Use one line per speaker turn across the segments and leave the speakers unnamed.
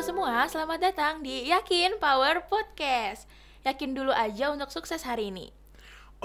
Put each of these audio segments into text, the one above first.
selamat datang di Yakin Power Podcast. Yakin dulu aja untuk sukses hari ini.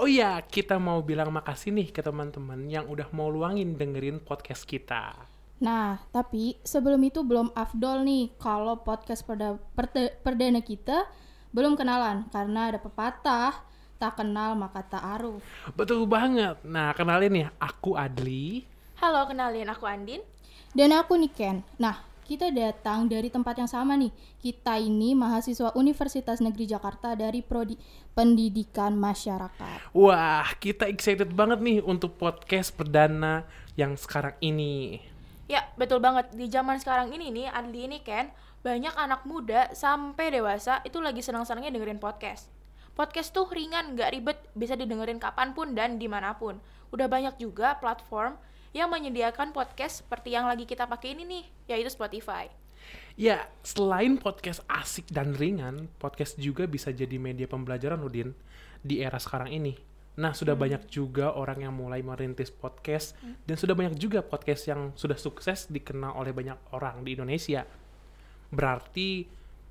Oh iya, kita mau bilang makasih nih ke teman-teman yang udah mau luangin dengerin podcast kita.
Nah, tapi sebelum itu belum afdol nih kalau podcast perda- perte- perdana kita belum kenalan karena ada pepatah tak kenal maka tak aruf.
Betul banget. Nah, kenalin ya, aku Adli.
Halo, kenalin aku Andin.
Dan aku nih Ken. Nah, kita datang dari tempat yang sama nih. Kita ini mahasiswa Universitas Negeri Jakarta dari prodi Pendidikan Masyarakat.
Wah, kita excited banget nih untuk podcast perdana yang sekarang ini.
Ya, betul banget. Di zaman sekarang ini nih, Adli ini Ken, banyak anak muda sampai dewasa itu lagi senang-senangnya dengerin podcast. Podcast tuh ringan, nggak ribet, bisa didengerin kapanpun dan dimanapun. Udah banyak juga platform yang menyediakan podcast seperti yang lagi kita pakai ini nih, yaitu Spotify.
Ya, selain podcast asik dan ringan, podcast juga bisa jadi media pembelajaran, Udin, di era sekarang ini. Nah, sudah banyak juga orang yang mulai merintis podcast, dan sudah banyak juga podcast yang sudah sukses dikenal oleh banyak orang di Indonesia. Berarti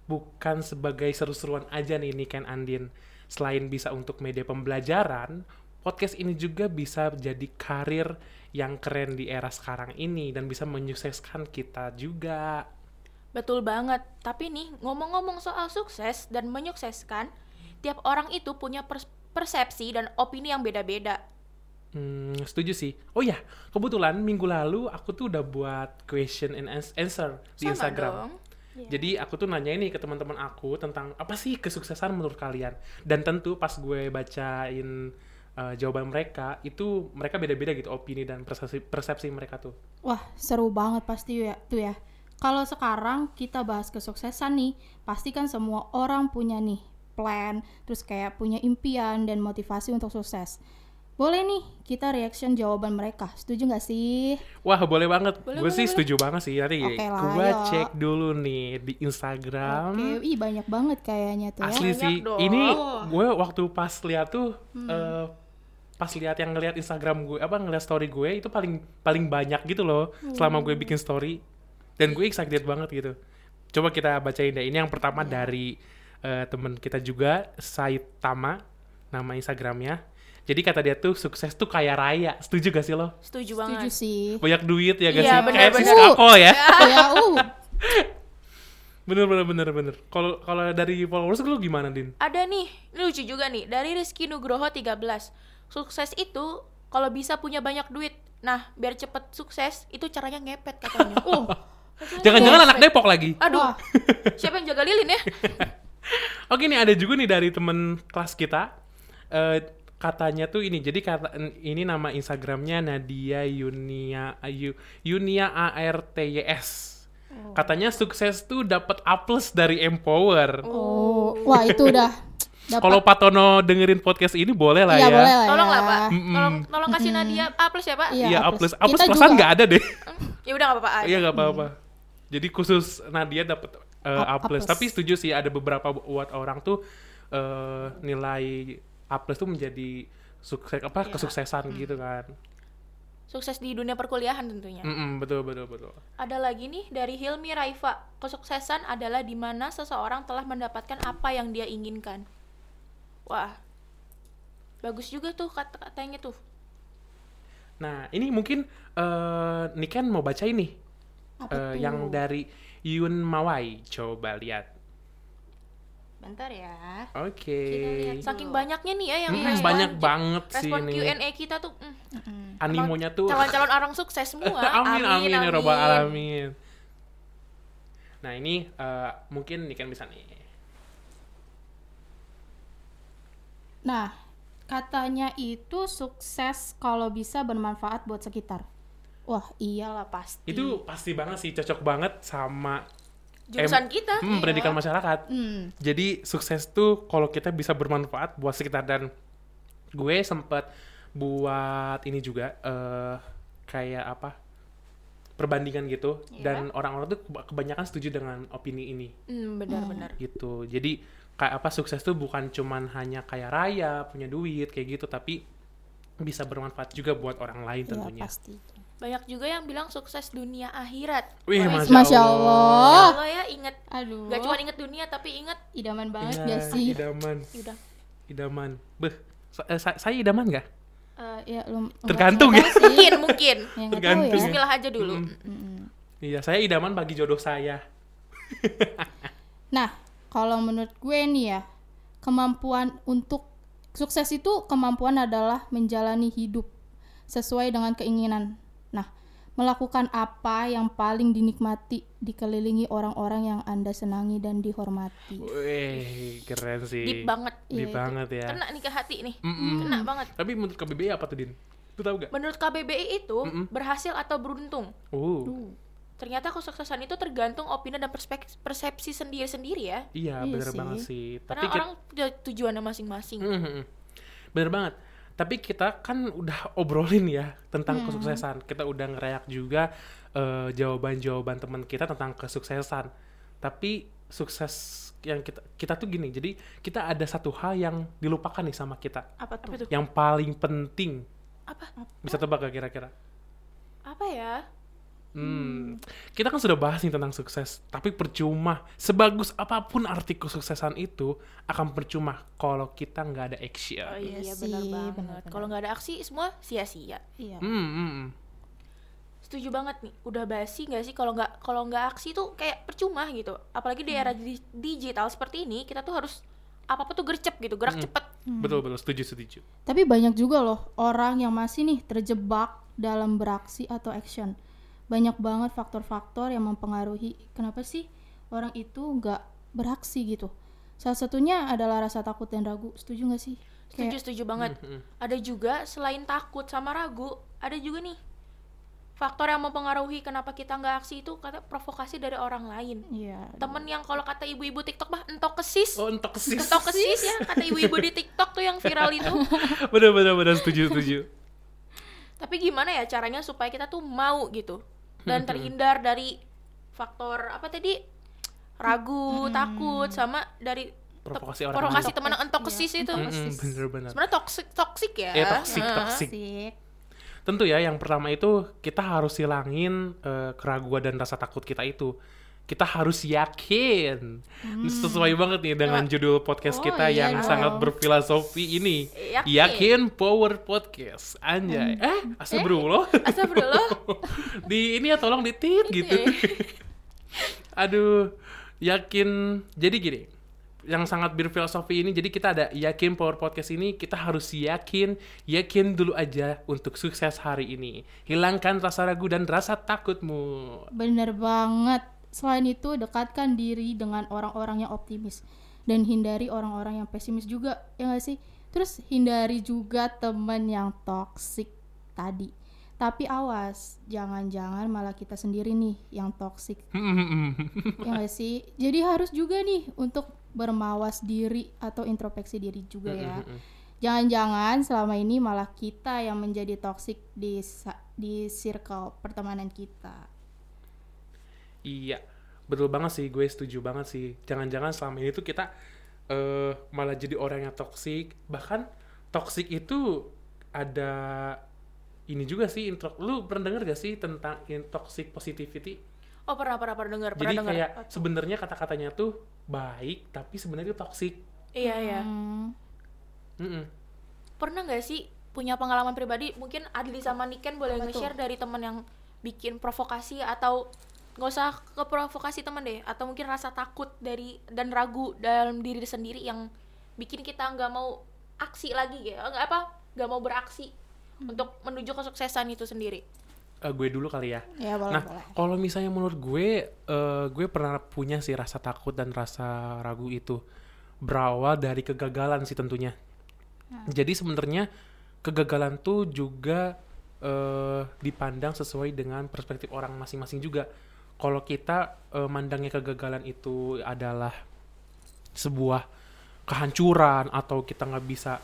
bukan sebagai seru-seruan aja nih Niken Andin. Selain bisa untuk media pembelajaran, podcast ini juga bisa jadi karir yang keren di era sekarang ini dan bisa menyukseskan kita juga.
Betul banget. Tapi nih, ngomong-ngomong soal sukses dan menyukseskan, tiap orang itu punya pers- persepsi dan opini yang beda-beda.
Hmm, setuju sih. Oh ya, kebetulan minggu lalu aku tuh udah buat question and ans- answer di
Sama
Instagram.
dong.
Jadi aku tuh nanya ini ke teman-teman aku tentang apa sih kesuksesan menurut kalian. Dan tentu pas gue bacain uh, jawaban mereka, itu mereka beda-beda gitu opini dan persepsi, persepsi mereka tuh.
Wah, seru banget pasti ya tuh ya. Kalau sekarang kita bahas kesuksesan nih, pasti kan semua orang punya nih plan, terus kayak punya impian dan motivasi untuk sukses. Boleh nih kita reaction jawaban mereka. Setuju nggak sih?
Wah, boleh banget.
Boleh,
gue
boleh,
sih
boleh.
setuju banget sih. Nanti
Oke lah,
gue
yuk.
cek dulu nih di Instagram.
Oke, ih banyak banget kayaknya tuh ya.
Hmm? Asli
Banyak
sih.
dong. Oh.
Ini gue waktu pas lihat tuh eh, pas lihat yang ngelihat Instagram gue apa ngelihat story gue itu paling paling banyak gitu loh selama gue bikin story dan gue excited banget gitu. Coba kita bacain deh. Ini yang pertama dari eh, temen kita juga Saitama nama Instagramnya. Jadi kata dia tuh sukses tuh kaya raya. Setuju gak sih lo?
Setuju
Setuju
banget.
sih.
Banyak duit ya gak
Iya,
sih? Kayak si
bener-bener.
Skako ya.
ya, uh,
Bener bener bener bener. Kalau kalau dari followers lu gimana din?
Ada nih, ini lucu juga nih, dari Rizky Nugroho 13. Sukses itu kalau bisa punya banyak duit. Nah, biar cepet sukses, itu caranya ngepet katanya. Uh,
Jangan-jangan anak Depok lagi.
aduh,
Wah.
siapa yang jaga lilin ya?
Oke nih ada juga nih dari temen kelas kita Eh, katanya tuh ini jadi kata n- ini nama Instagramnya Nadia Yunia Ayu Yunia ARTYS
Oh.
katanya sukses tuh dapat A plus dari Empower.
oh, wah itu udah dapat.
Kalau Patono dengerin podcast ini boleh lah
Iya,
ya.
boleh lah
Tolong
ya.
lah, Pak.
Mm-mm.
Tolong, tolong kasih Nadia A plus ya, Pak?
Iya.
Iya
A
A plus
plus.
A plus
Kita
perasaan
juga.
nggak ada deh.
Ya udah nggak apa-apa. aja.
Iya nggak apa-apa. Jadi khusus Nadia dapat eh, A
A- A plus.
plus. Tapi setuju sih ada beberapa buat orang tuh eh, nilai A plus tuh menjadi sukses
Iya.
apa kesuksesan
Hmm.
gitu kan.
Sukses di dunia perkuliahan tentunya.
Mm-mm, betul betul betul.
Ada lagi nih dari Hilmi Raifa. Kesuksesan adalah di mana seseorang telah mendapatkan apa yang dia inginkan. Wah. Bagus juga tuh kata-katanya tuh.
Nah ini mungkin eh Niken mau baca ini
Apa tuh?
Eh, yang dari Yun Mawai. Coba lihat.
Bentar ya.
Oke.
Kita lihat sa-
Saking banyaknya nih ya yang
Mm,
respon-
Iya. banyak banget sih
respon
ini.
Q&A kita tuh mm,
Animonya tuh.
calon-calon orang sukses semua.
amin, amin, ya robbal alamin. Nah ini eh, mungkin Niken bisa nih.
Nah, katanya itu sukses kalau bisa bermanfaat buat sekitar. Wah, iyalah pasti.
Itu pasti banget sih, cocok banget sama
Jurusan
em-
kita. Iya.
hmm, pendidikan masyarakat.
Hmm,
Jadi sukses tuh kalau kita bisa bermanfaat buat sekitar dan gue sempat buat ini juga eh kayak apa perbandingan gitu dan orang-orang tuh keba- kebanyakan setuju dengan opini ini
Hmm, benar-benar.
gitu. Jadi kayak apa sukses tuh bukan cuman hanya kaya raya, punya duit kayak gitu, tapi bisa bermanfaat juga buat orang lain
iya
tentunya.
pasti.
Banyak juga yang bilang sukses dunia akhirat.
Wih,
Wah,
masya,
Masya
Allah.
Allah.
Allah ya inget
Aduh.
Gak cuma inget dunia tapi inget
idaman banget
Ya,
gak Iya, sih?
Idaman,
udah
idaman. Beh, sa- eh, sa- saya idaman gak?
Eh, ya, lum-
Tergantung
nggak tahu Iya sih.
mungkin mungkin
Ya, Hmm. nggak tahu
Tergantung.
ya.
Bismillah aja dulu
Iya. Mm-mm.
Mm-mm.
Iya, saya idaman bagi jodoh saya.
Nah, kalau menurut gue nih ya, kemampuan untuk sukses itu kemampuan adalah menjalani hidup sesuai dengan keinginan. Nah, melakukan apa yang paling dinikmati dikelilingi orang-orang yang Anda senangi dan dihormati.
Wih, keren sih.
deep banget
Deep
Iya, itu.
banget ya.
kena nih ke hati nih
Mm-mm.
kena banget
Tapi menurut KBBI apa tuh, Din? Lu tahu gak?
menurut KBBI itu
Mm-mm.
berhasil atau beruntung
Oh,
ternyata kesuksesan itu tergantung opini dan perspek- persepsi sendiri-sendiri ya
iya,
Iya
bener
sih.
banget sih.
karena
kita-
orang punya tujuannya masing-masing
Mhm. Bener banget. Tapi kita kan udah obrolin ya tentang
Mhm.
kesuksesan. Kita udah ngerayak juga eh, jawaban-jawaban teman kita tentang kesuksesan. Tapi sukses yang kita kita tuh gini. Jadi kita ada satu hal yang dilupakan nih sama kita.
Apa
apa tuh
Yang paling penting.
apa
Bisa tebak gak kira-kira?
apa ya
Hmm. Kita kan sudah bahas nih tentang sukses, tapi percuma. Sebagus apapun arti kesuksesan itu akan percuma kalau kita nggak ada action.
oh
Iya
iya,
sih,
benar
benar,
banget
benar.
kalau nggak ada aksi semua sia-sia
Iya.
Hmm, hmm, hmm.
setuju banget nih udah basi nggak sih kalau nggak kalau nggak aksi tuh kayak percuma gitu apalagi di era di- digital seperti ini kita tuh harus apa apa tuh gercep gitu gerak
Mm-mm.
cepet
Betul betul setuju setuju.
Tapi banyak juga loh orang yang masih nih terjebak dalam beraksi atau action. Banyak banget faktor-faktor yang mempengaruhi kenapa sih orang itu nggak beraksi gitu. Salah satunya adalah rasa takut dan ragu. Setuju nggak sih?
setuju setuju banget
Mm-mm.
ada juga selain takut sama ragu ada juga nih faktor yang mempengaruhi kenapa kita nggak aksi itu kata provokasi dari orang lain
Iya.
temen yang kalau kata ibu-ibu tiktok bah entok kesis
Oh entok sis.
entok kesis ya kata ibu-ibu di tiktok tuh yang viral itu
bener bener bener setuju setuju.
tapi gimana ya caranya supaya kita tuh mau gitu
Hmm.
dan terhindar dari faktor apa tadi ragu takut sama dari te-
Provokasi orang
provokasi
lain.
teman yang entok
Iya,
kesis
Hmm,
itu
entok
Mm-mm, bener bener.
sebenarnya toksik toksik ya
Eh toksik toksik.
Asik.
Tentu ya yang pertama itu kita harus hilangin eh, keraguan dan rasa takut kita itu. Kita harus yakin.
Hmm.
Sesuai banget nih dengan judul podcast
Oh,
kita
iya
yang
dong.
sangat berfilosofi ini.
Yakin. Hmm.
Power Podcast. Anjay. Eh, astagfirullah.
Astagfirullah.
di ini ya tolong ditit gitu. Aduh, yakin. Jadi gini, yang sangat berfilosofi ini, jadi kita ada yakin Power Podcast ini, kita harus yakin, yakin dulu aja untuk sukses hari ini. Hilangkan rasa ragu dan rasa takutmu.
Bener banget. Selain itu, dekatkan diri dengan orang-orang yang optimis dan hindari orang-orang yang pesimis juga, ya nggak sih? Terus hindari juga temen yang toksik tadi. Tapi awas, jangan-jangan malah kita sendiri nih yang toksik, ya nggak sih? Jadi harus juga nih untuk bermawas diri atau introspeksi diri juga ya. Jangan-jangan selama ini malah kita yang menjadi toksik di sa- di circle pertemanan kita.
Iya, betul banget sih, gue setuju banget sih. Jangan-jangan selama ini tuh kita eh malah jadi orang yang toksik. Bahkan toksik itu ada ini juga sih intro. Lu pernah denger gak sih tentang in- toxic positivity?
oh pernah pernah pernah dengar
jadi
pernah dengar
kayak sebenarnya kata-katanya tuh baik, tapi sebenarnya itu toksik.
iya iya
Hmm.
Mm-mm.
pernah nggak sih punya pengalaman pribadi mungkin Adli sama Niken boleh
Apa tuh?
nge-share dari teman yang bikin provokasi atau nggak usah ke provokasi teman deh atau mungkin rasa takut dari dan ragu dalam diri sendiri yang bikin kita nggak mau aksi lagi ya nggak apa nggak mau beraksi
Hmm.
untuk menuju kesuksesan itu sendiri
Eh, gue dulu kali ya.
Ya boleh
Nah,
boleh.
kalau misalnya menurut gue, eh, gue pernah punya sih rasa takut dan rasa ragu itu berawal dari kegagalan sih tentunya. Jadi sebenarnya kegagalan tuh juga eh, dipandang sesuai dengan perspektif orang masing-masing juga. Kalau kita eh, mandangnya kegagalan itu adalah sebuah kehancuran atau kita nggak bisa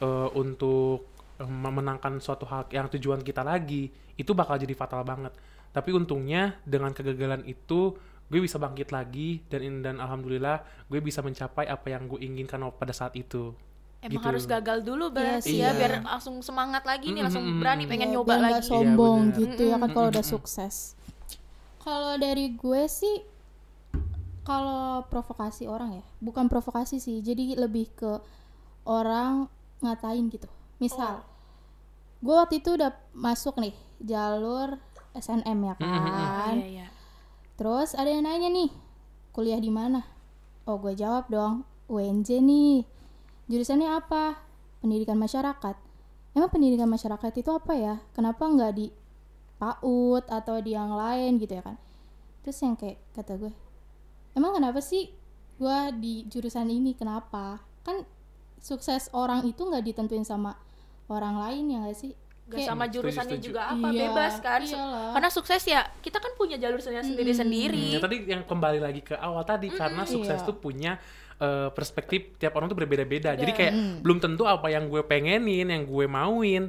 eh, untuk eh, memenangkan suatu hal yang tujuan kita lagi itu bakal jadi fatal banget tapi untungnya dengan kegagalan itu gue bisa bangkit lagi dan dan alhamdulillah gue bisa mencapai apa yang gue inginkan pada saat itu
Emang
Gitu.
harus gagal dulu berarti
Iya
ya
sih.
biar langsung semangat lagi nih,
Mm,
langsung
mm, mm,
berani
mm.
pengen
Iya,
nyoba
biar nggak
lagi.
so-
sombong
Iya, bener.
gitu ya kan
Mm,
kalau
mm,
udah
mm.
sukses kalau dari gue sih kalau provokasi orang ya bukan provokasi sih jadi lebih ke orang ngatain gitu misal gue waktu itu udah masuk nih jalur SNM ya
Mm, mm, mm.
Ah,
kan
iya, iya.
Terus ada yang nanya nih, kuliah di mana? Oh, gue jawab dong, UNJ nih. Jurusannya apa? Pendidikan masyarakat. Emang pendidikan masyarakat itu apa ya? Kenapa nggak di PAUD atau di yang lain gitu ya kan? Terus yang kayak kata gue, emang kenapa sih gue di jurusan ini? Kenapa? Kan sukses orang itu nggak ditentuin sama orang lain ya nggak sih?
Gak sama
Setuju,
jurusannya
setuju.
juga apa,
Iya,
bebas kan.
iyalah.
Karena sukses ya, kita kan punya jalur sendiri-sendiri.
Hmm, ya tadi yang kembali lagi ke awal tadi
Hmm,
karena sukses
Iya.
tuh punya eh, perspektif tiap orang tuh berbeda-beda. Jadi
Beda.
kayak
Mm.
belum tentu apa yang gue pengenin, yang gue mauin,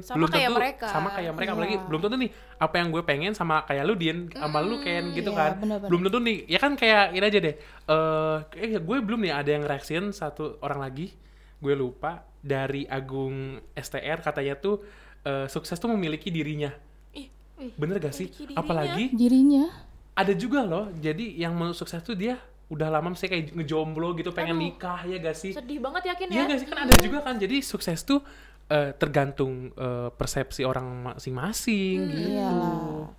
Hmm. Sama
belum
kayak
tentu
mereka.
sama kayak mereka
Iya.
apalagi belum tentu nih apa yang gue pengen sama kayak lu Din, sama lu
Hmm,
Ken gitu
iya,
kan.
bener-bener.
Belum tentu nih. Ya kan kayak ini aja deh. Eh, eh, gue belum nih ada yang reaksiin satu orang lagi. Gue lupa dari Agung STR katanya tuh eh, sukses tuh memiliki dirinya.
Ih,
Bener gak sih?
memiliki dirinya.
Apalagi
Dirinya
ada juga loh jadi yang menurut sukses tuh dia udah lama misalnya kayak ngejomblo gitu pengen
Aduh.
nikah ya gak sih
sedih banget yakin ya.
Iya gak sih kan ada juga kan jadi sukses tuh eh, tergantung eh, persepsi orang masing-masing
Hmm.
gitu
Iyalah.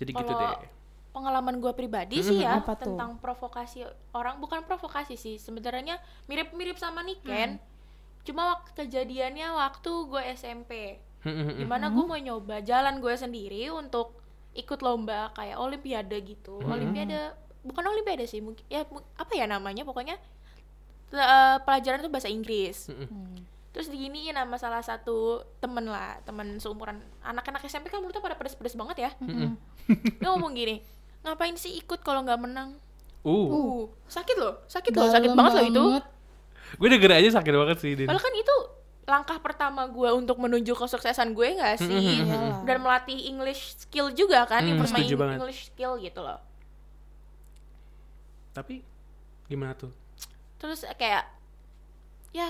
jadi gitu deh
Kalau Hmm. pengalaman gue pribadi
Hmm.
sih ya
Apa tuh?
tentang provokasi orang bukan provokasi sih sebenarnya mirip-mirip sama
Hmm.
Niken cuma waktu kejadiannya waktu gue SMP
Hmm,
dimana gue mau nyoba jalan gue sendiri untuk ikut lomba kayak olimpiade gitu
Hmm.
olimpiade bukan olimpiade sih mungkin ya mu- apa ya namanya pokoknya eh, pelajaran itu bahasa Inggris
Hmm.
terus diginiin sama salah satu temen lah temen seumuran anak-anak SMP kan mulutnya pada pedes-pedes banget ya dia ngomong gini ngapain sih ikut kalau nggak menang
uh
uh sakit loh sakit loh sakit banget loh itu
gue denger aja sakit banget sih Din
padahal kan itu langkah pertama gue untuk menuju kesuksesan gue nggak sih
Mhm.
dan melatih English skill juga kan
Hmm,
improve my
setuju banget.
English skill gitu loh
tapi gimana tuh
terus eh, kayak ya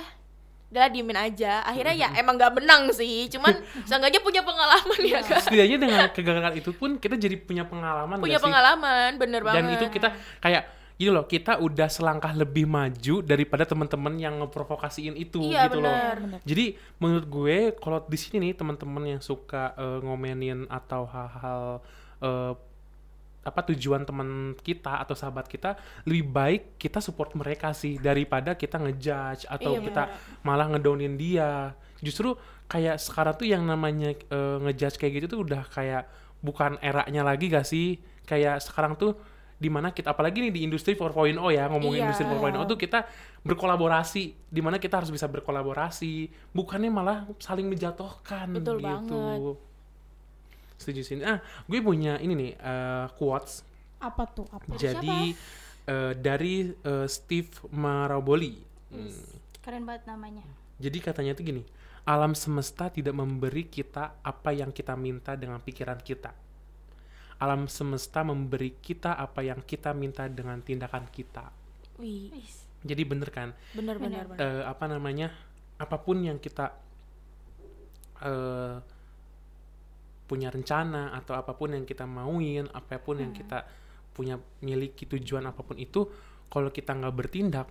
udah diemin aja akhirnya ya
Mm-hmm.
emang nggak menang sih cuman seenggaknya punya pengalaman ya kan
setidaknya dengan kegagalan itu pun kita jadi punya pengalaman
punya
nggak sih?
pengalaman bener banget
dan itu kita kayak gitu loh kita udah selangkah lebih maju daripada teman-teman yang ngeprovokasiin itu
Iya,
gitu loh
benar.
jadi menurut gue kalau di sini nih teman-teman yang suka eh, ngomenin atau hal-hal eh, apa tujuan teman kita atau sahabat kita lebih baik kita support mereka sih daripada kita ngejudge
Iya,
atau kita malah ngedownin dia justru kayak sekarang tuh yang namanya eh, ngejudge kayak gitu tuh udah kayak bukan eranya lagi gak sih kayak sekarang tuh dimana kita apalagi nih di industri 4.0 ya ngomongin
Iya.
industri 4.0 tuh kita berkolaborasi dimana kita harus bisa berkolaborasi bukannya malah saling menjatuhkan
Betul
gitu
banget.
setuju sini ah gue punya ini nih eh, quotes
Apa tuh?
Dari
Apa?
jadi eh, dari eh, Steve Maraboli Hmm.
Keren banget namanya.
Jadi katanya tuh gini, alam semesta tidak memberi kita apa yang kita minta dengan pikiran kita. Alam semesta memberi kita apa yang kita minta dengan tindakan kita.
wih
Jadi bener kan,
bener bener bener
eh, apa namanya, apapun yang kita eh, punya rencana atau apapun yang kita mauin, apapun yang kita punya miliki tujuan apapun itu, kalau kita nggak bertindak,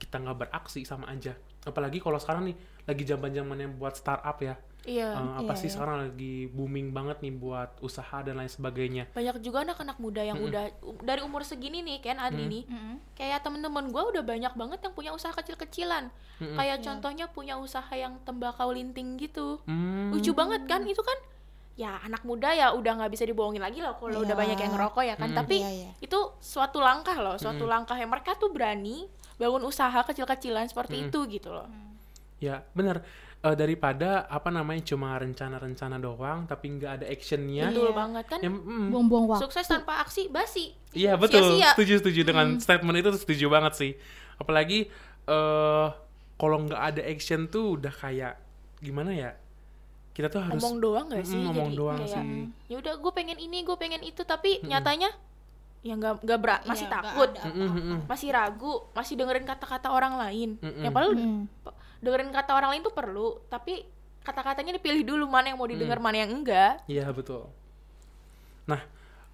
kita nggak beraksi sama aja. Apalagi kalau sekarang nih lagi zaman zamannya buat startup ya,
iya
Eh, apa
Iya,
sih
iya.
sekarang lagi booming banget nih buat usaha dan lain sebagainya.
banyak juga anak-anak muda yang
Mm-mm.
udah u- dari umur segini nih kan Adli
Mm.
nih kayak temen-temen gue udah banyak banget yang punya usaha kecil-kecilan
Mm-mm.
kayak
Iya.
contohnya punya usaha yang tembakau linting gitu
Hmm.
lucu banget kan itu kan ya anak muda ya udah nggak bisa dibohongin lagi loh kalau udah
Iya.
banyak yang ngerokok ya kan
Mm.
tapi
Iya, iya.
itu suatu langkah loh suatu
Mm.
langkah yang mereka tuh berani bangun usaha kecil-kecilan seperti
Mm.
itu gitu loh
Ya, benar. Eh, daripada apa namanya cuma rencana-rencana doang tapi nggak ada actionnya.
betul
Iya.
banget kan
Ya, mm,
Buang-buang waktu.
sukses tanpa aksi basi
Iya betul,
Sia-sia.
setuju setuju dengan statement itu setuju banget sih. Apalagi eh kalau nggak ada action tuh udah kayak gimana ya? Kita tuh harus
ngomong doang gak sih
Mm, ngomong
Jadi
doang
kayak,
sih.
ya udah gue pengen ini gue pengen itu tapi nyatanya ya nggak nggak berat masih
Iya, nggak
takut
ada
Mm-mm, mm-mm.
masih ragu masih dengerin kata-kata orang lain
Mm-mm.
yang perlu
Mm.
dengerin kata orang lain tuh perlu tapi kata-katanya dipilih dulu mana yang
Mm.
mau didengar mana yang enggak
Iya betul. Nah,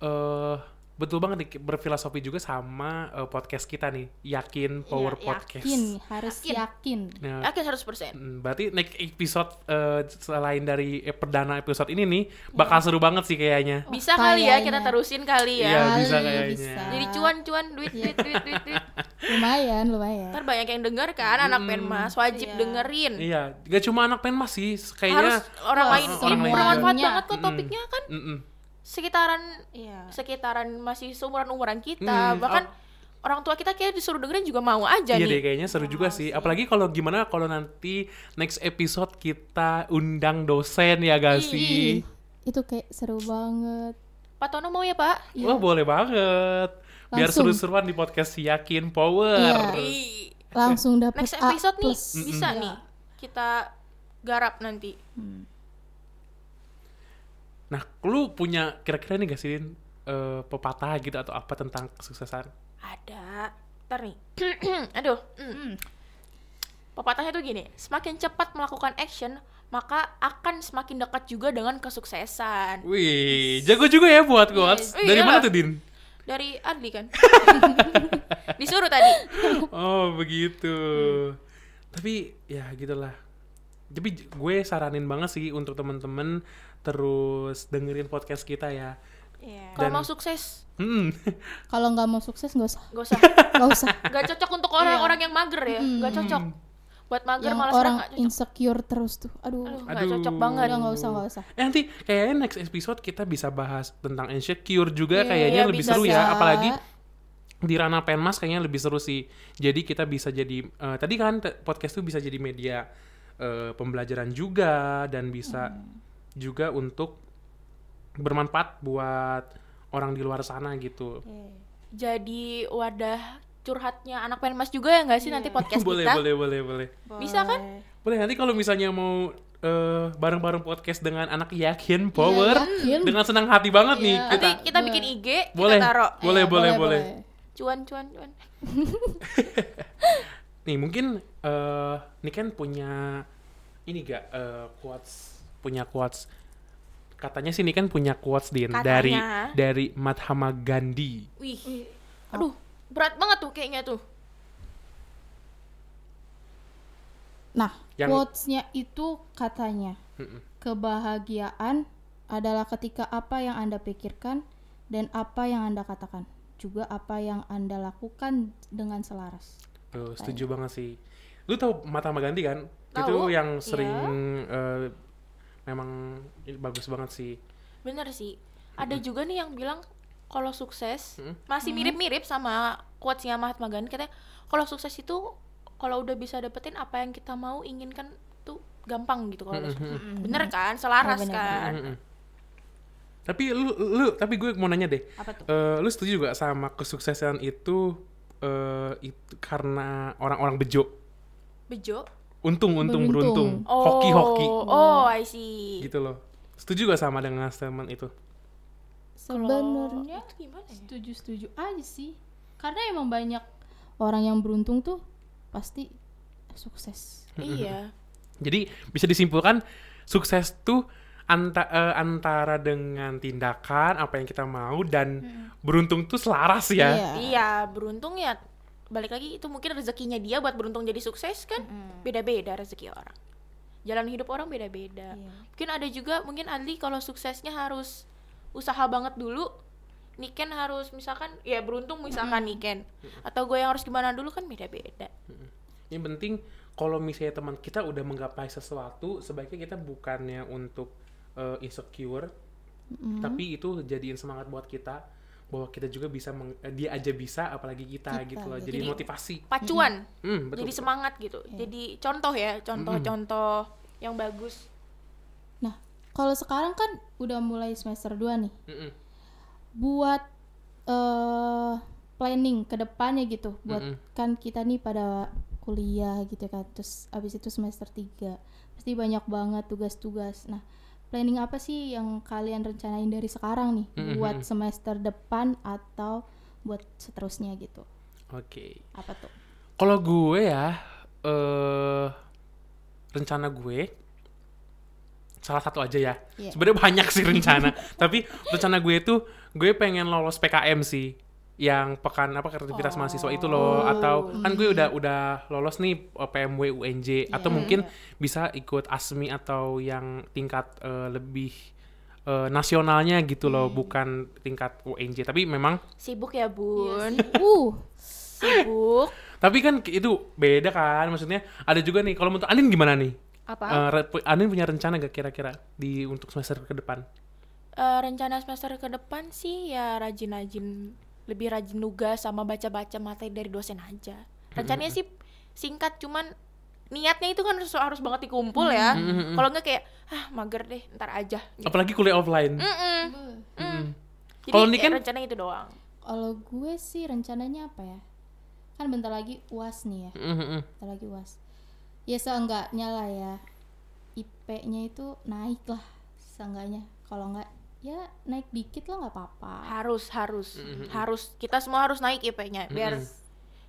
eh betul banget nih, berfilosofi juga sama eh, podcast kita nih, yakin power
Iya,
podcast.
yakin harus
Yakin.
yakin,
Nah,
yakin 100%
Mm, Berarti next episode eh, selain dari eh, perdana episode ini nih bakal seru banget sih kayaknya.
bisa kali ya kita
Oh, Kayaknya.
terusin kali ya
Iya,
Kali
bisa kayaknya.
jadi cuan-cuan duit duit duit duit, duit.
lumayan lumayan
ntar banyak yang denger kan anak penmas wajib
Iya.
dengerin
Mm. Iya, gak cuma anak penmas
Hmm.
sih,
harus
kayaknya
orang
Wah,
lain
orang lain
bermanfaat
juga.
banget kok
Mm-mm.
topiknya kan
Mm-mm.
sekitaran
Iya.
sekitaran masih seumuran umuran kita
Mm,
bahkan orang tua kita kayak disuruh dengerin juga mau aja nih
Iya deh kayaknya seru juga sih. Apalagi kalau gimana kalau nanti next episode kita undang dosen ya gak
Ih,
sih?
itu kayak seru banget
Pak Tono mau ya Pak
Iya.
Wah boleh banget. Biar
Langsung.
seru-seruan di podcast Yakin Power.
Iya.
Ih,
Eh,
langsung dapet
next
A
episode nih
plus.
bisa
Iya.
nih kita garap nanti
Nah, lu punya kira-kira nih gak sih Din, eh, pepatah gitu atau apa tentang kesuksesan?
ada ntar nih aduh mm.
Hmm.
pepatahnya tuh gini semakin cepat melakukan action maka akan semakin dekat juga dengan kesuksesan
Wih, jago juga ya buat quotes.
Wih,
Dari
iya.
mana tuh Din?
dari Adli kan disuruh tadi
Oh begitu. Hmm. Tapi ya gitulah. Tapi j- gue saranin banget sih untuk temen-temen terus dengerin podcast kita ya.
kalau
Dan-
mau sukses
Hmm.
kalau nggak mau sukses nggak usah
gak usah
nggak usah
gak cocok untuk orang-orang yang mager ya gak cocok buat mager
Iya. Hmm. yang
malah
orang
orang gak cocok
insecure terus tuh aduh,
Aduh, gak
Aduh.
cocok banget
Udah, nggak usah nggak usah
Eh nanti kayaknya next episode kita bisa bahas tentang insecure juga
Iya,
kayaknya
iya,
lebih
bisa,
seru ya.
bisa.
Apalagi di ranah penmas kayaknya lebih seru sih. Jadi kita bisa jadi eh, tadi kan te- podcast tuh bisa jadi media eh, pembelajaran juga dan bisa
Hmm.
juga untuk bermanfaat buat orang di luar sana gitu.
Iya. jadi wadah curhatnya anak penmas juga ya gak sih nanti
Iya.
podcast
boleh,
kita
boleh, boleh, boleh.
Bisa kan?
Boleh nanti kalau misalnya mau eh, bareng-bareng podcast dengan anak
Iya,
yakin power
Iya, Yakin.
dengan senang hati banget nih
Iya.
kita.
nanti kita
Boleh.
bikin IG
Boleh.
kita
Eh,
taruh
Boleh, boleh, boleh.
cuan cuan cuan
Nih mungkin eh ini kan punya ini gak eh, quotes punya quotes katanya sih ini kan punya quotes din dari
Katanya.
dari Mahatma Gandhi.
Wih. Aduh, berat banget tuh kayaknya tuh.
Nah,
Yang-
quotes-nya itu katanya,
Mm-mm.
kebahagiaan adalah ketika apa yang Anda pikirkan dan apa yang Anda katakan, juga apa yang Anda lakukan dengan selaras.
Tuh, setuju banget sih. Lu tahu Mahatma Gandhi kan? Itu
Tahu, Iya.
yang sering eh, memang bagus banget sih.
Bener sih. Ada juga nih yang bilang kalau sukses
Mm.
masih
Hmm.
mirip-mirip sama quotesnya Mahatma Gandhi katanya kalau sukses itu kalau udah bisa dapetin apa yang kita mau inginkan tuh gampang gitu kalau udah
Mm-mm.
sukses. Bener kan? Selaras
Hmm, Bener, bener.
kan?
Mm-mm. Tapi lu lu tapi gue mau nanya deh.
Apa tuh?
Eh, lu setuju gak sama kesuksesan itu eh itu karena orang-orang bejo?
Bejo.
Untung untung beruntung,
Beruntung.
hoki hoki
Oh, I see.
gitu loh. Setuju gak sama dengan statement itu?
Kalau
Sebenarnya
itu gimana ya?
setuju-setuju aja sih. Karena emang banyak orang yang beruntung tuh pasti sukses.
Iya.
Jadi bisa disimpulkan sukses tuh anta- eh, antara dengan tindakan apa yang kita mau dan beruntung tuh selaras ya.
Iya, beruntung ya balik lagi itu mungkin rezekinya dia buat beruntung jadi sukses kan beda-beda rezeki orang jalan hidup orang beda-beda
Iya.
mungkin ada juga mungkin Adli kalau suksesnya harus usaha banget dulu Niken harus misalkan ya beruntung misalkan Niken atau gue yang harus gimana dulu kan beda-beda
Yang penting kalau misalnya teman kita udah menggapai sesuatu, sebaiknya kita bukannya untuk eh, insecure, tapi itu jadiin semangat buat kita bahwa kita juga bisa meng- eh, dia aja bisa apalagi kita,
Kita,
gitu loh.
gitu.
Jadi,
Jadi-
motivasi.
pacuan
Hmm, betul.
jadi semangat gitu
Iya.
jadi contoh ya contoh-contoh yang bagus
Nah, kalau sekarang kan udah mulai semester 2 nih.
Mm-mm.
buat eh planning ke depannya gitu buat
Mm-mm.
kan kita nih pada kuliah gitu kan terus abis itu semester 3 pasti banyak banget tugas-tugas nah planning apa sih yang kalian rencanain dari sekarang nih
Mm-mm.
buat semester depan atau buat seterusnya gitu.
Oke.
Apa tuh?
Kalau gue ya eh rencana gue salah satu aja ya.
Iya.
Sebenarnya banyak sih rencana, tapi rencana gue itu gue pengen lolos PKM sih yang pekan apa
Oh.
kreativitas mahasiswa itu loh atau kan gue udah udah lolos nih eh, PMW UNJ atau
Iya,
mungkin bisa ikut ASMI atau yang tingkat eh, lebih eh, nasionalnya gitu loh
Hmm.
bukan tingkat UNJ tapi memang
Sibuk ya, Bun.
Uh,
Sibuk.
Tapi kan itu beda kan, maksudnya ada juga nih. Kalau menurut Andin gimana nih?
Apa?
Eh, re- pu- Andin punya rencana gak kira-kira di untuk semester ke depan?
Eh, rencana semester ke depan sih ya rajin-rajin lebih rajin nugas sama baca-baca materi dari dosen aja. Rencananya
Mm-hmm.
sih singkat cuman niatnya itu kan harus, harus banget dikumpul ya.
Mm-hmm.
Kalau nggak kayak ah mager deh ntar aja. Gitu.
Apalagi kuliah offline.
Mm-mm.
Mm.
Jadi
Kalau ini
ya,
kan-
rencana itu doang.
kalau gue sih rencananya apa ya? Kan bentar lagi UAS nih ya.
Mm-mm.
Bentar lagi UAS. Ya seenggaknya lah ya. IP-nya itu naik lah seenggaknya. Kalau enggak ya naik dikit lah nggak apa-apa.
Harus harus
Mm-hmm.
harus kita semua harus naik IP-nya biar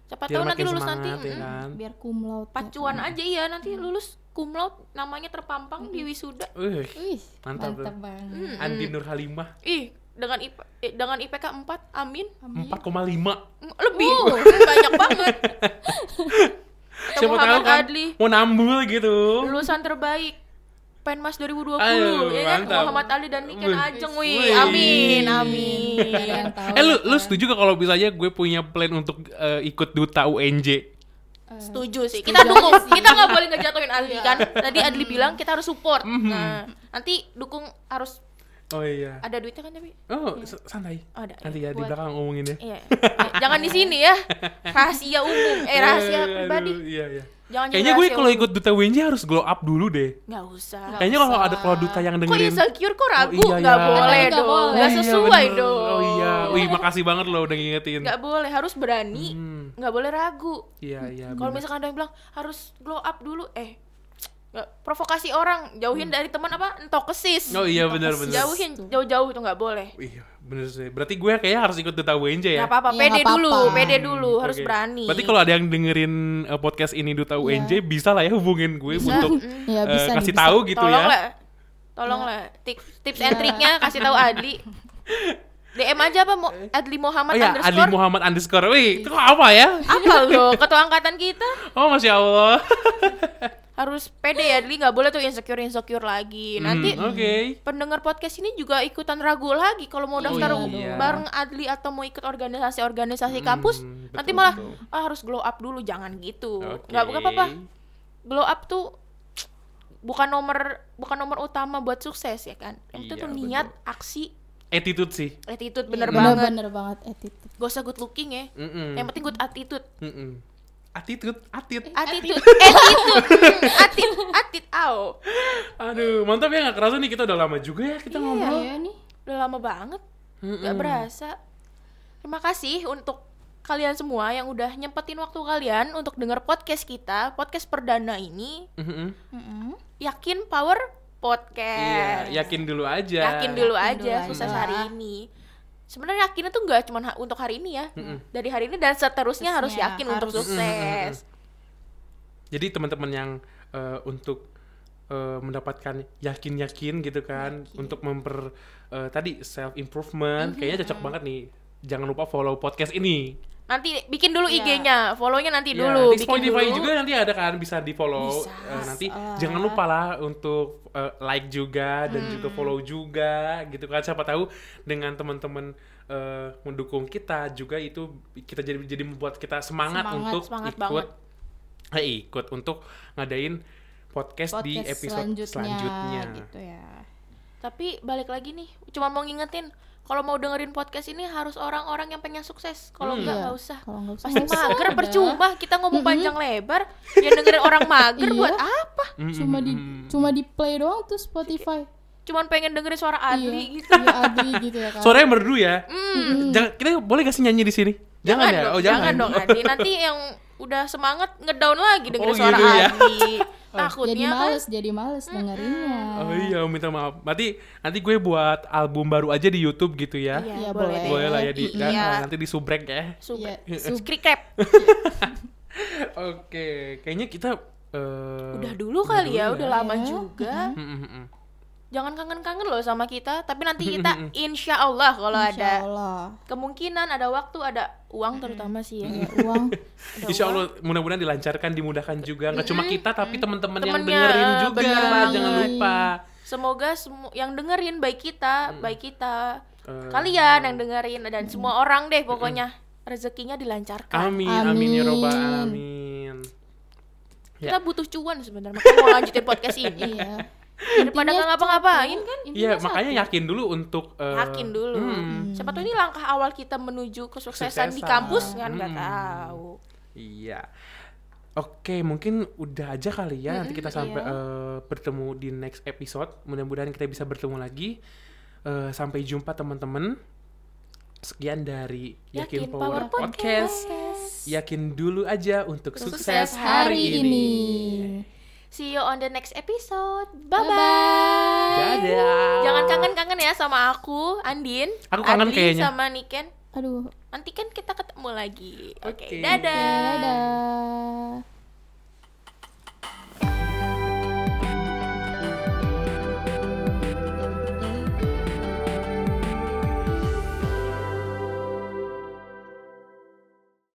cepat tahu
Biar
nanti
Mm-hmm. makin
lulus nanti
semangat, Mm-hmm. ya
mm-mm.
kan?
Biar cum laude.
pacuan aja iya nanti lulus cum laude namanya terpampang di wisuda.
Wih,
Wih,
Mantap
mantap,
tuh.
Hmm.
banget.
Andin Nur Halimah
Ih dengan IP, eh, dengan IPK 4 amin
4,5.
Mm, lebih banyak banget
Siapa tahu
Muhammad
kan
Adli
mau nambul gitu.
lulusan terbaik Penmas 2020
Aduh,
ya kan
mantap.
Muhammad Ali dan Niken
Wih.
Ajeng wih
Wih.
amin
Nggak ada
amin
yang tahu
Eh lu, lu
kan.
setuju gak kalau misalnya gue punya plan untuk eh, ikut duta UNJ?
Eh,
setuju sih kita dukung kita nggak boleh ngejatuhin Adli kan tadi Adli bilang kita harus support
Mm-hmm.
nah nanti dukung harus
Oh iya.
ada duitnya kan tapi
Oh, s- santai.
Oh, ada.
Nanti ya di
Buat-
belakang ngomongin ya.
iya Eh, jangan di sini ya rahasia umum eh rahasia
aduh,
pribadi
Iya, iya.
jangan jadi
Kayaknya gue
rahasia
kalau
umum.
ikut duta UNJ harus glow up dulu deh.
Kan nggak usah
Nggak
Kayaknya kalau
usah.
ada kalau duta yang
Kok
dengerin
insecure kok ragu?
Oh, iya,
nggak
ya.
boleh
Nggak
dong.
boleh.
Nggak
Oh iya,
sesuai
bener.
dong.
Oh iya, wih makasih banget loh udah ngingetin.
Nggak boleh, harus berani.
Hmm.
Nggak boleh ragu.
Iya, iya.
Kalau
bener.
misalkan ada yang bilang harus glow up dulu, eh nggak- provokasi orang, jauhin dari teman apa? Entokesis.
Hmm. Oh iya benar benar.
Jauhin jauh-jauh tuh nggak boleh.
Iya, bener sih. Berarti gue kayaknya harus ikut duta UNJ ya.
Nggak apa-apa,
Iya,
pede
nggak
dulu,
apa-apa.
pede dulu, harus
Hmm, Oke.
berani. Iya.
Berarti kalau ada yang dengerin eh, podcast ini duta UNJ bisa lah ya hubungin gue untuk
ya
eh,
bisa
kasih
nih, bisa.
tahu gitu
tolong
ya.
lah, tolong lah.
Iya.
Tik- Tips and triknya kasih tahu Adli. DM aja apa Mo- Adli Muhammad
Oh iya, Ali
underscore Iya.
Muhammad underscore. Wih, itu apa ya?
apa lo ketua angkatan kita
Oh, Masya Allah.
harus pede ya Dli nggak boleh tuh insecure insecure lagi nanti
Hmm, Oke.
pendengar podcast ini juga ikutan ragu lagi kalau
Oh,
mau daftar
iya
dong.
bareng Adli atau mau ikut organisasi-organisasi kampus
Hmm,
nanti
betul,
malah
betul.
"Ah, harus glow up dulu jangan gitu
Oke.
nggak bukan apa-apa glow up tuh bukan nomor bukan nomor utama buat sukses ya kan itu
Iya,
tuh
betul.
niat aksi
Attitude sih.
attitude Iya, bener
Bener
banget
bener banget attitude.
gak usah good looking ya
Mm-mm.
yang penting good attitude
Mm-mm. Attitude, attitude.
attitude attitude Hmm, attitude attitude aw
Aduh, mantap ya nggak kerasa nih kita udah lama juga ya kita ngomong.
Iya nih.
udah lama banget nggak
Hmm.
berasa terima kasih untuk kalian semua yang udah nyempetin waktu kalian untuk denger podcast kita podcast perdana ini
Mm-mm.
Mm-mm.
yakin power
Iya,
podcast
yakin dulu aja.
Eh. yakin dulu
Yakin
aja
dulu
susah
aja.
hari ini sebenarnya yakinnya tuh nggak cuma ha- untuk hari ini ya dari hari ini dan seterusnya harus
Terusnya,
yakin untuk
harus.
sukses
Jadi teman-teman yang eh, untuk eh, mendapatkan yakin-yakin gitu kan untuk memper eh, tadi self improvement
Mm-hmm.
kayaknya cocok banget nih. Jangan lupa follow podcast ini.
nanti bikin dulu
Iya.
IG-nya follownya nanti
Ya,
dulu bikin
di Spotify
dulu
juga nanti ada kan bisa di follow
Bisa.
nanti
Bisa.
jangan lupa lah untuk eh, like juga dan juga follow juga gitu kan siapa tahu dengan teman-teman eh, mendukung kita juga itu kita jadi jadi membuat kita semangat,
Semangat,
untuk
semangat
ikut eh, ikut untuk ngadain podcast,
Podcast
di episode
selanjutnya,
selanjutnya,
gitu ya.
Tapi balik lagi nih, cuma mau ngingetin kalau mau dengerin podcast ini harus orang-orang yang pengen sukses. Kalau
Hmm.
enggak
Iya.
nggak usah.
Kalau nggak usah
Pasti
nggak usah,
mager
udah.
percuma kita ngomong panjang lebar, dia dengerin orang mager
Mm-hmm. Iya.
buat "Ah, apa?
Mm,
Cuma
mm,
di
mm, mm.
cuma di play doang tuh Spotify.
Cuman pengen dengerin suara
iya.
Adli gitu.
Iya, Adli gitu ya kan.
suaranya merdu ya Jangan- kita boleh gak sih nyanyi di sini jangan, ya
dong,
oh jangan,
dong Adli. Nanti yang udah semangat ngedown lagi dengerin
Oh,
suara
gitu ya.
Adli.
jadi
takutnya kan
males jadi males dengerinnya
Oh iya, minta maaf. Berarti nanti gue buat album baru aja di YouTube gitu ya.
Iya,
Iya,
boleh
boleh.
deh.
Boleh lah ya di
Iya.
nah, nanti di subrek ya.
Super.
Iya, sub-
Skrikrep.
Oke, kayaknya kita eh,
Udah dulu kali ya, udah lama
Iya.
juga.
Mm, mm, mm.
Jangan kangen-kangen loh sama kita, tapi nanti kita insya Allah kalau
Insya
ada
Allah Mm-hmm.
kemungkinan, ada waktu, ada uang terutama sih ya.
Ya, uang
Ada uang.
Insya Allah mudah-mudahan dilancarkan, dimudahkan juga. Nggak cuma kita tapi teman-teman yang
Temennya,
dengerin juga,
ya, bener banget.
jangan lupa.
Semoga semu- yang dengerin baik kita, baik kita,
Hmm. Eh,
kalian yang dengerin dan semua orang deh pokoknya rezekinya dilancarkan.
Amin, amin ya robbal
Amin.
alamin. Ya.
Kita butuh cuan sebenarnya, makanya mau lanjutin podcast ini.
iya
Daripada nggak ngapa-ngapain kan,
Iya, makanya yakin dulu untuk eh,
yakin dulu.
mm,
Siapa tahu ini langkah awal kita menuju kesuksesan di
Kesuksesan.
kampus kan nggak
Hmm.
tahu.
Iya. Oke, mungkin udah aja kali ya. Nanti kita sampai eh, bertemu di next episode. Mudah-mudahan kita bisa bertemu lagi. Eh, sampai jumpa teman-teman. Sekian dari Yakin, Power, Podcast. Yakin dulu aja untuk sukses,
Sukses
hari ini.
hari ini
See you on the next episode. Bye bye.
Dadah.
Jangan kangen-kangen ya sama aku, Andin.
Aku kangen
Adli,
kayaknya.
sama Niken.
aduh
Nanti kan kita ketemu lagi. Oke,
Oke.
dadah.
dadah